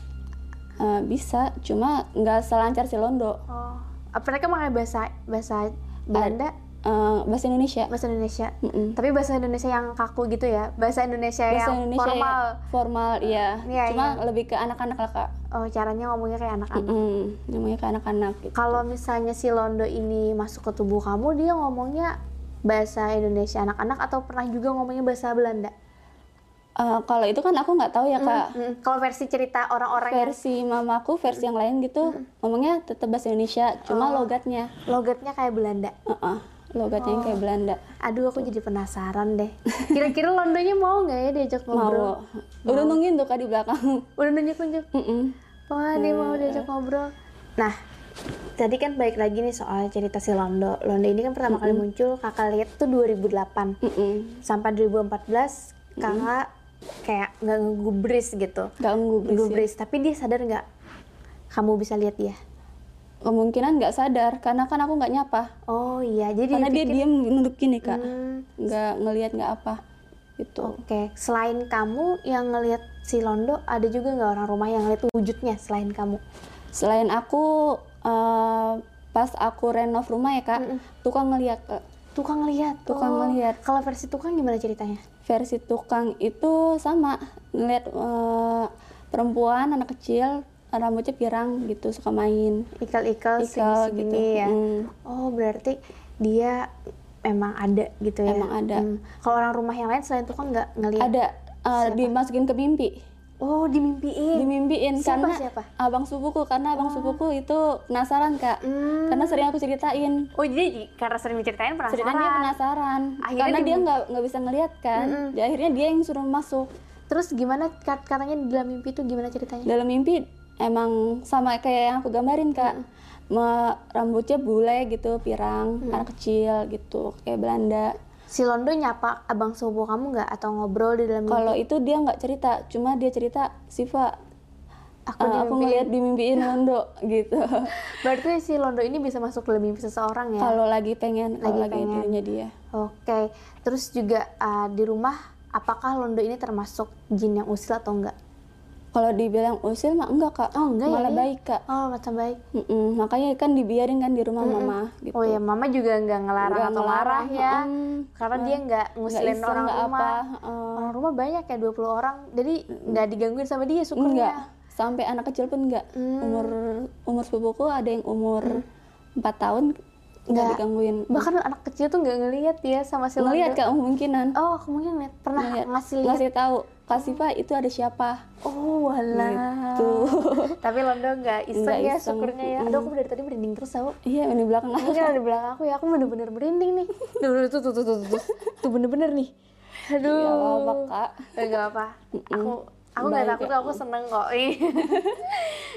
Speaker 2: Eh, bisa cuma nggak selancar si londo
Speaker 1: Oh, apa mereka pakai bahasa bahasa Belanda,
Speaker 2: Eh, bahasa Indonesia
Speaker 1: bahasa Indonesia?
Speaker 2: Mm-mm.
Speaker 1: Tapi bahasa Indonesia yang kaku gitu ya, bahasa Indonesia
Speaker 2: bahasa
Speaker 1: yang
Speaker 2: Indonesia ya,
Speaker 1: formal.
Speaker 2: formal iya
Speaker 1: Iya,
Speaker 2: cuma lebih ke anak-anak lah kak
Speaker 1: Oh, caranya ngomongnya kayak anak-anak.
Speaker 2: Mm-mm, namanya ke anak-anak gitu.
Speaker 1: Kalau misalnya si Londo ini masuk ke tubuh kamu, dia ngomongnya bahasa Indonesia anak-anak atau pernah juga ngomongnya bahasa Belanda?
Speaker 2: Eh, kalau itu kan aku nggak tahu ya kak
Speaker 1: Mm, Kalau versi cerita orang-orang yang
Speaker 2: versi mamaku versi yang lain gitu ngomongnya tetap bahasa Indonesia cuma
Speaker 1: Oh.
Speaker 2: logatnya
Speaker 1: logatnya kayak Belanda.
Speaker 2: Heeh, logatnya yang kayak
Speaker 1: Oh.
Speaker 2: Belanda
Speaker 1: Aduh, aku jadi penasaran deh. Kira-kira Londonya mau nggak ya diajak ngobrol?
Speaker 2: mau udah nungguin tuh kak di belakang
Speaker 1: Udah nunjuk-nunjuk.
Speaker 2: Mm-mm.
Speaker 1: Wah, dia mau diajak ngobrol. Nah, tadi kan balik lagi nih soal cerita si Londo. Londo ini kan pertama kali muncul, kakak lihat tuh 2008.
Speaker 2: Mm-mm.
Speaker 1: Sampai 2014, kakak kayak nggak ngegubris gitu.
Speaker 2: ganggu berisik.
Speaker 1: Ngegubris, tapi dia sadar nggak kamu bisa lihat dia?
Speaker 2: kemungkinan nggak sadar karena kan aku nggak nyapa
Speaker 1: Oh iya, jadi
Speaker 2: karena dia
Speaker 1: dipikir-
Speaker 2: diam nunduk gini kak
Speaker 1: Hmm,
Speaker 2: nggak ngelihat nggak apa gitu
Speaker 1: Oke, selain kamu yang ngelihat si Londo, ada juga nggak orang rumah yang ngelihat wujudnya selain kamu?
Speaker 2: selain aku eh, pas aku renov rumah ya kak tukang eh, ngelihat Kak.
Speaker 1: Tukang ngelihat.
Speaker 2: Tukang Oh. ngelihat.
Speaker 1: Kalau versi tukang gimana ceritanya?
Speaker 2: versi tukang itu sama ngelihat eh, perempuan anak kecil rambutnya pirang gitu suka main
Speaker 1: Ikel-ikel,
Speaker 2: Ikel gitu
Speaker 1: segini Oh, ya.
Speaker 2: Mm.
Speaker 1: Oh, berarti dia emang ada gitu ya?
Speaker 2: Emang ada.
Speaker 1: Hmm. Kalau orang rumah yang lain selain tukang nggak ngelihat?
Speaker 2: ada eh, dimasukin ke mimpi
Speaker 1: Oh, dimimpiin.
Speaker 2: dimimpiin
Speaker 1: Siapa, Oh.
Speaker 2: karena
Speaker 1: siapa?
Speaker 2: abang sepupuku karena abang sepupuku itu penasaran kak
Speaker 1: Hmm.
Speaker 2: Mm. karena sering aku ceritain
Speaker 1: Oh, jadi karena sering diceritain penasaran.
Speaker 2: ceritanya dia penasaran
Speaker 1: Akhirnya
Speaker 2: karena dia
Speaker 1: dimu-
Speaker 2: nggak nggak bisa ngelihat kan
Speaker 1: Mm-mm.
Speaker 2: Jadi akhirnya dia yang suruh masuk
Speaker 1: Terus gimana kat- katanya di dalam mimpi itu gimana ceritanya?
Speaker 2: dalam mimpi emang sama kayak yang aku gambarin kak Me- rambutnya bule gitu pirang
Speaker 1: Hmm.
Speaker 2: anak kecil gitu kayak Belanda
Speaker 1: Si Londo nyapa abang sepupu kamu nggak atau ngobrol di dalam mimpi?
Speaker 2: kalau itu dia nggak cerita cuma dia cerita Siva
Speaker 1: aku
Speaker 2: eh,
Speaker 1: dimimpiin.
Speaker 2: aku ngeliat dimimpiin Londo gitu
Speaker 1: Berarti si Londo ini bisa masuk ke dalam mimpi seseorang ya?
Speaker 2: kalau lagi pengen kalau
Speaker 1: Lagi
Speaker 2: lagi
Speaker 1: pengen.
Speaker 2: dirinya dia
Speaker 1: Oke, terus juga uh, di rumah, apakah Londo ini termasuk jin yang usil atau enggak?
Speaker 2: kalau dibilang usil mah enggak kak
Speaker 1: Oh, enggak ya,
Speaker 2: malah
Speaker 1: iya.
Speaker 2: baik kak
Speaker 1: Oh, macam baik.
Speaker 2: Mm-mm, makanya kan dibiarin kan di rumah mama gitu
Speaker 1: Oh ya, Mama juga nggak ngelarang
Speaker 2: Nggak
Speaker 1: atau
Speaker 2: ngelarang,
Speaker 1: marah ya,
Speaker 2: mm-mm.
Speaker 1: karena
Speaker 2: Nggak-
Speaker 1: dia nggak
Speaker 2: nggak
Speaker 1: ngusilin
Speaker 2: iseng,
Speaker 1: orang
Speaker 2: nggak
Speaker 1: rumah. Oh,
Speaker 2: apa. eh,
Speaker 1: Orang rumah banyak ya, 20 orang, jadi nggak digangguin sama dia,
Speaker 2: enggak
Speaker 1: syukurnya.
Speaker 2: sampai anak kecil pun enggak
Speaker 1: Hmm.
Speaker 2: umur umur sepupuku ada yang umur empat tahun enggak
Speaker 1: Nggak.
Speaker 2: digangguin
Speaker 1: Bahkan anak kecil tuh nggak ngelihat ya sama si Londo.
Speaker 2: ngelihat kak kemungkinan
Speaker 1: Oh, ya. aku mungkin ngeliat. pernah
Speaker 2: kan? Ngeliat.
Speaker 1: ngasih lihat.
Speaker 2: ngasih tahu kasifa itu ada siapa
Speaker 1: Oh, walah.
Speaker 2: gitu
Speaker 1: Tapi Londo nggak iseng
Speaker 2: Nggak
Speaker 1: ya,
Speaker 2: iseng, mm.
Speaker 1: syukurnya ya. Aduh, aku dari tadi merinding terus tau.
Speaker 2: iya ini belakang aku
Speaker 1: Mungkin ada di belakang aku ya, aku bener-bener merinding nih. Tuh, tuh, tuh, tuh, tuh, tuh, tuh, bener-bener nih. Aduh.
Speaker 2: Iya, nggak apa-apa, Kak.
Speaker 1: Eh, nggak apa. Aku aku nggak
Speaker 2: Baik,
Speaker 1: takut,
Speaker 2: ya.
Speaker 1: aku seneng kok. Ih.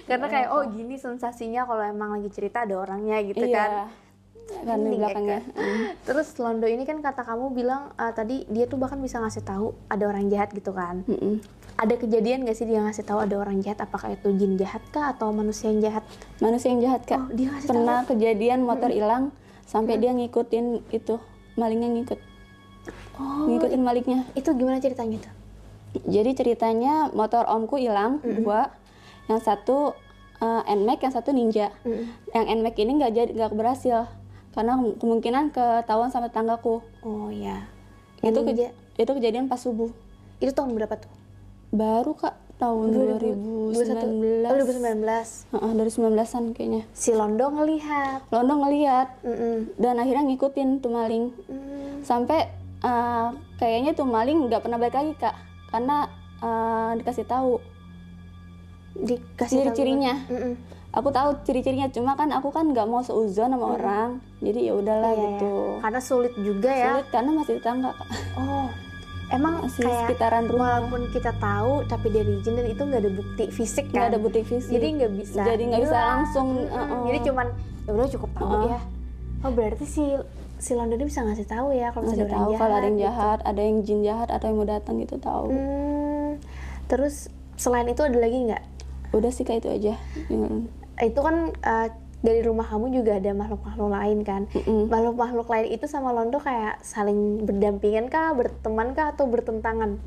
Speaker 1: Karena kayak oh gini sensasinya kalau emang lagi cerita ada orangnya gitu kan.
Speaker 2: iya kan di
Speaker 1: Merinding ya,
Speaker 2: belakangnya Mm.
Speaker 1: Kak? Terus Londo ini kan kata kamu bilang eh, tadi dia tuh bahkan bisa ngasih tahu ada orang jahat gitu kan.
Speaker 2: Mm-mm.
Speaker 1: Ada kejadian gak sih dia ngasih tahu ada orang jahat? Apakah itu jin jahat kah atau manusia yang jahat?
Speaker 2: manusia yang jahat kak
Speaker 1: Oh, dia ngasih
Speaker 2: pernah kejadian motor
Speaker 1: Hmm.
Speaker 2: hilang sampai dia ngikutin itu malingnya ngikut
Speaker 1: Oh,
Speaker 2: ngikutin malingnya
Speaker 1: itu gimana ceritanya tuh?
Speaker 2: jadi ceritanya motor omku hilang dua yang satu eh, nmax yang satu ninja
Speaker 1: Mm-mm.
Speaker 2: yang nmax ini nggak jadi nggak berhasil karena kem- kemungkinan ketahuan sama tetanggaku
Speaker 1: Oh ya.
Speaker 2: itu
Speaker 1: Yang
Speaker 2: ke-
Speaker 1: ninja.
Speaker 2: itu kejadian pas subuh
Speaker 1: Itu tahun berapa tuh?
Speaker 2: baru kak tahun
Speaker 1: 2021.
Speaker 2: 2019
Speaker 1: Oh, 2019.
Speaker 2: Heeh, dari 19-an kayaknya
Speaker 1: Si Londo ngelihat.
Speaker 2: Londo ngeliat
Speaker 1: Mm-mm.
Speaker 2: dan akhirnya ngikutin tuh maling
Speaker 1: Mm.
Speaker 2: sampai eh, kayaknya tuh maling nggak pernah balik lagi kak karena eh, dikasih tahu
Speaker 1: Dikasih tahu.
Speaker 2: ciri-cirinya
Speaker 1: Mm-mm.
Speaker 2: aku tahu ciri-cirinya cuma kan aku kan nggak mau seuzon sama orang jadi ya udahlah
Speaker 1: Hmm. Iya,
Speaker 2: gitu
Speaker 1: ya. Karena sulit juga ya.
Speaker 2: sulit karena masih tetangga Kak.
Speaker 1: Oh. Emang
Speaker 2: masih
Speaker 1: kayak
Speaker 2: sekitaran rumah
Speaker 1: walaupun kita tahu tapi dari izin dan itu nggak ada bukti fisik
Speaker 2: nggak
Speaker 1: kan.
Speaker 2: ada butik fisik
Speaker 1: Jadi nggak bisa.
Speaker 2: jadi nggak bisa
Speaker 1: bilang.
Speaker 2: langsung
Speaker 1: Mm-mm.
Speaker 2: uh-uh.
Speaker 1: Jadi cuman ya udah cukup tahu
Speaker 2: Uh-uh.
Speaker 1: ya. Oh, berarti si si Londo ini bisa ngasih tahu ya kalau
Speaker 2: masih
Speaker 1: misalnya ada
Speaker 2: tahu
Speaker 1: orang
Speaker 2: kalau ada yang
Speaker 1: gitu.
Speaker 2: jahat ada yang jin jahat atau yang mau datang gitu tahu
Speaker 1: Hmm. Terus selain itu ada lagi nggak?
Speaker 2: udah sih kayak itu aja Hmm.
Speaker 1: itu kan uh, dari rumah kamu juga ada makhluk-makhluk lain kan
Speaker 2: Mm-mm.
Speaker 1: makhluk-makhluk lain itu sama Londo kayak saling berdampingan kah berteman kah atau bertentangan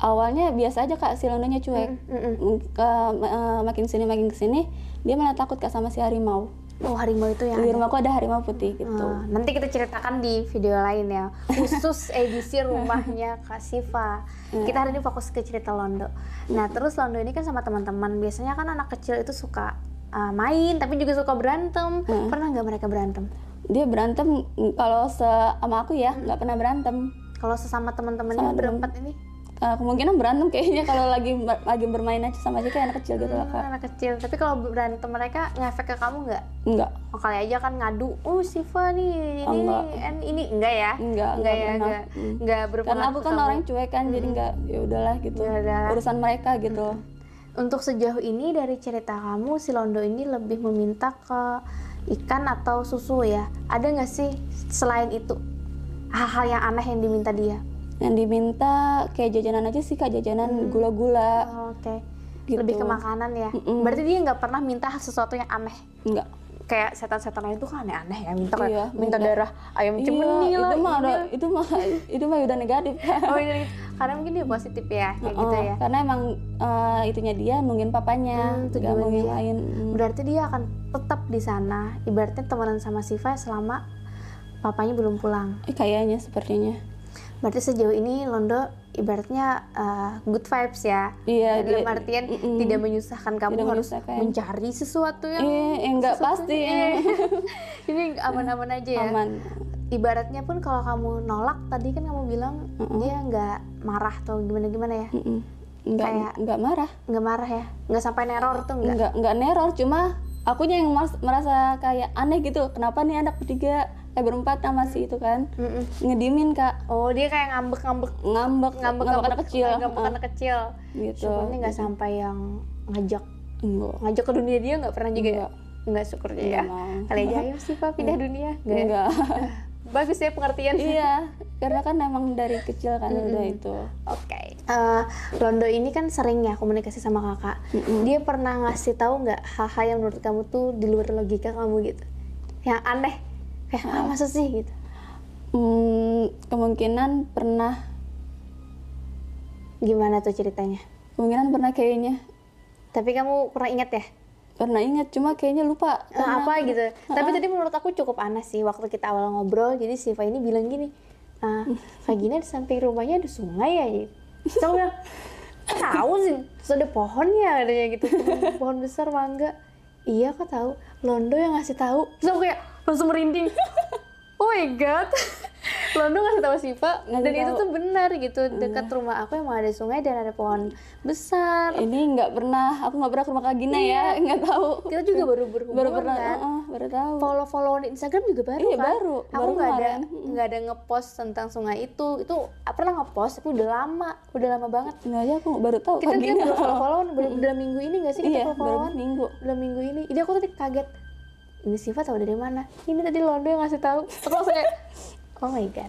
Speaker 2: awalnya biasa aja kak si Londonya cuek
Speaker 1: Mm-mm.
Speaker 2: M- ke- ma- eh, makin sini makin kesini dia malah takut kak sama si harimau
Speaker 1: oh harimau itu yang
Speaker 2: di rumahku ada harimau putih gitu
Speaker 1: Ah, nanti kita ceritakan di video lain ya khusus edisi rumahnya Kak Siva
Speaker 2: Iya.
Speaker 1: kita hari ini fokus ke cerita Londo nah terus Londo ini kan sama teman-teman biasanya kan anak kecil itu suka ah, main tapi juga suka berantem
Speaker 2: Iya.
Speaker 1: pernah nggak mereka berantem
Speaker 2: dia berantem mm, kalau se- sama aku
Speaker 1: Hmm.
Speaker 2: ya nggak pernah berantem
Speaker 1: kalau sesama teman-temannya
Speaker 2: Sama temen.
Speaker 1: berempat ini
Speaker 2: Eh, kemungkinan berantem kayaknya kalau lagi ber- lagi bermain aja sama aja kayak anak kecil gitu lah kak
Speaker 1: anak kecil tapi kalau berantem mereka ngefek ke kamu nggak
Speaker 2: enggak
Speaker 1: oh, kali aja kan ngadu oh Siva nih ini
Speaker 2: Oh, enggak.
Speaker 1: en- ini enggak ya
Speaker 2: Enggak,
Speaker 1: enggak
Speaker 2: enggak
Speaker 1: ya
Speaker 2: pernah.
Speaker 1: enggak
Speaker 2: Mm.
Speaker 1: enggak
Speaker 2: karena
Speaker 1: berpengaruh ke
Speaker 2: aku kan
Speaker 1: kamu.
Speaker 2: orang cuek kan jadi enggak ya udahlah gitu
Speaker 1: Ya udahlah. Hmm.
Speaker 2: urusan mereka gitu
Speaker 1: untuk sejauh ini dari cerita kamu si Londo ini lebih meminta ke ikan atau susu ya ada nggak sih selain itu hal-hal yang aneh yang diminta dia
Speaker 2: yang diminta kayak jajanan aja sih kak jajanan gula-gula
Speaker 1: Oh, oke
Speaker 2: Gitu.
Speaker 1: Hmm. lebih ke makanan ya
Speaker 2: Mm-mm.
Speaker 1: berarti dia nggak pernah minta sesuatu yang aneh
Speaker 2: enggak
Speaker 1: kayak setan-setan lain tuh kan aneh-aneh ya minta kayak-
Speaker 2: Iya,
Speaker 1: minta
Speaker 2: minta- Iya,
Speaker 1: darah ayam cemeni
Speaker 2: itu
Speaker 1: lah
Speaker 2: mah
Speaker 1: ini
Speaker 2: udah, itu mah itu mah udah negatif
Speaker 1: lah. oh ini karena mungkin dia positif ya kayak gitu
Speaker 2: Heeh,
Speaker 1: ya
Speaker 2: karena emang eh, itunya dia nungguin papanya
Speaker 1: Hmm,
Speaker 2: nggak
Speaker 1: tujuan
Speaker 2: mau yang
Speaker 1: dia.
Speaker 2: lain Hmm.
Speaker 1: berarti dia akan tetap di sana ibaratnya temenan sama Siva selama papanya belum pulang
Speaker 2: Eh, kayaknya sepertinya
Speaker 1: berarti sejauh ini Londo ibaratnya uh, good vibes ya
Speaker 2: Iya,
Speaker 1: dalam
Speaker 2: dia-
Speaker 1: artian
Speaker 2: Mm-mm.
Speaker 1: tidak menyusahkan kamu
Speaker 2: Tidak
Speaker 1: harus
Speaker 2: menyusahkan.
Speaker 1: mencari sesuatu yang
Speaker 2: eh enggak
Speaker 1: sesuatu-
Speaker 2: pasti
Speaker 1: Eh, ini aman-aman aja ya
Speaker 2: aman
Speaker 1: ibaratnya pun kalau kamu nolak tadi kan kamu bilang
Speaker 2: Mm-mm.
Speaker 1: dia nggak marah atau gimana gimana ya
Speaker 2: Mm-mm. enggak
Speaker 1: Kayak-
Speaker 2: enggak marah
Speaker 1: nggak marah ya nggak sampai neror tuh nggak
Speaker 2: enggak enggak neror cuma akunya yang mas- merasa kayak aneh gitu kenapa nih anak bertiga eh berempat sama si itu kan
Speaker 1: Mm-mm.
Speaker 2: ngedimin kak
Speaker 1: oh dia kayak ngambek-ngambek
Speaker 2: ngambek ngambek, anak kecil Ah.
Speaker 1: ngambek anak kecil
Speaker 2: Heeh, gitu
Speaker 1: syukurnya nggak sampai yang ngajak
Speaker 2: enggak
Speaker 1: ngajak ke dunia dia nggak pernah juga ya
Speaker 2: Nggak. Iya,
Speaker 1: nggak syukurnya ya
Speaker 2: enggak mau.
Speaker 1: kali aja ayo sih pak pindah dunia nggak ya?
Speaker 2: enggak
Speaker 1: bagus ya pengertian
Speaker 2: iya karena kan emang dari kecil kan udah itu
Speaker 1: oke Eh, Londo ini kan sering ya komunikasi sama kakak dia pernah ngasih tahu nggak hal-hal yang menurut kamu tuh di luar logika kamu gitu yang aneh kayak ah, masa sih gitu
Speaker 2: Hmm, kemungkinan pernah
Speaker 1: gimana tuh ceritanya
Speaker 2: kemungkinan pernah kayaknya
Speaker 1: tapi kamu pernah ingat ya
Speaker 2: pernah ingat cuma kayaknya lupa
Speaker 1: Eh, apa gitu tapi tadi menurut aku cukup aneh sih waktu kita awal ngobrol jadi Siva ini bilang gini ah kayak gini di samping rumahnya ada sungai ya gitu Terus aku bilang tahu sih terus ada pohon ya katanya gitu Pohon- pohon besar mangga iya kok tahu Londo yang ngasih tahu terus aku kayak langsung merinding oh my god Londo ngasih tahu Siva
Speaker 2: Ngasih
Speaker 1: dan itu
Speaker 2: tahu. Iya.
Speaker 1: tuh benar gitu dekat rumah aku emang ada sungai dan ada pohon besar
Speaker 2: ini nggak pernah aku nggak pernah ke rumah Kak Gina ya nggak tahu
Speaker 1: Iya. kita juga baru berhubungan
Speaker 2: baru pernah
Speaker 1: kan?
Speaker 2: heeh, baru tahu
Speaker 1: follow followan Instagram juga baru
Speaker 2: Iya,
Speaker 1: kan?
Speaker 2: baru.
Speaker 1: Aku
Speaker 2: Baru
Speaker 1: nggak ada
Speaker 2: kemarin.
Speaker 1: nggak ada ngepost tentang sungai itu. Itu ah, pernah ngepost tapi udah lama, udah lama banget.
Speaker 2: nggak aja aku baru tahu
Speaker 1: Kita
Speaker 2: Kak
Speaker 1: kita
Speaker 2: Gina
Speaker 1: baru follow followan baru udah minggu ini nggak sih kita
Speaker 2: iya
Speaker 1: follow
Speaker 2: baru
Speaker 1: followan?
Speaker 2: minggu
Speaker 1: Udah minggu ini. Jadi aku tadi kaget. Ini Siva tahu dari mana? Ini tadi Londo yang ngasih tahu. Aku langsung kayak Oh my god.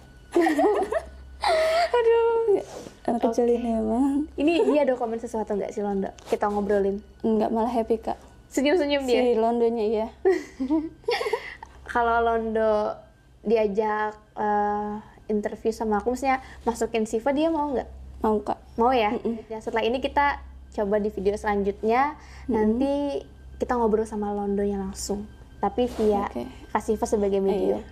Speaker 2: anak kecil ini emang
Speaker 1: Ini dia ada komen sesuatu nggak sih Londo? Kita ngobrolin.
Speaker 2: nggak malah happy kak
Speaker 1: Senyum-senyum dia.
Speaker 2: si Londonnya ya
Speaker 1: Kalau Londo diajak eh, interview sama aku, maksudnya masukin Siva dia mau nggak?
Speaker 2: mau kak
Speaker 1: Mau ya? Ya, Setelah ini kita coba di video selanjutnya. Nanti kita ngobrol sama Londonya langsung. Tapi via
Speaker 2: Oke. Eh, iya.
Speaker 1: Kak Siva sebagai media.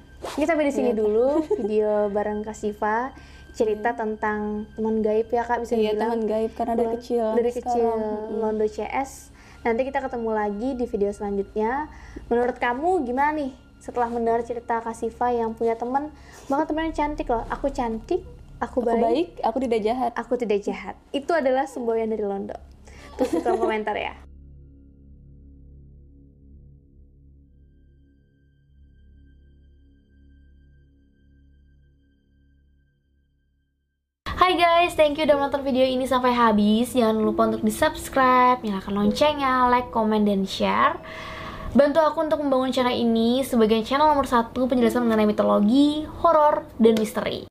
Speaker 1: Ini sampai di sini dulu video bareng Kak Siva cerita tentang teman gaib ya Kak bisa
Speaker 2: iya
Speaker 1: dibilang.
Speaker 2: teman gaib karena dari
Speaker 1: Lon-
Speaker 2: kecil
Speaker 1: dari kecil
Speaker 2: sekarang.
Speaker 1: Londo CS nanti kita ketemu lagi di video selanjutnya menurut kamu gimana nih setelah mendengar cerita Kasifa yang punya teman bahkan temannya cantik loh aku cantik aku
Speaker 2: aku
Speaker 1: baik,
Speaker 2: baik aku tidak jahat
Speaker 1: aku tidak jahat itu adalah semboyan dari Londo terus di kolom komentar ya Hai guys, thank you udah menonton video ini sampai habis. Jangan lupa untuk di-subscribe, nyalakan loncengnya, like, komen, dan share. Bantu aku untuk membangun channel ini sebagai channel nomor satu penjelasan mengenai mitologi, horor, dan misteri.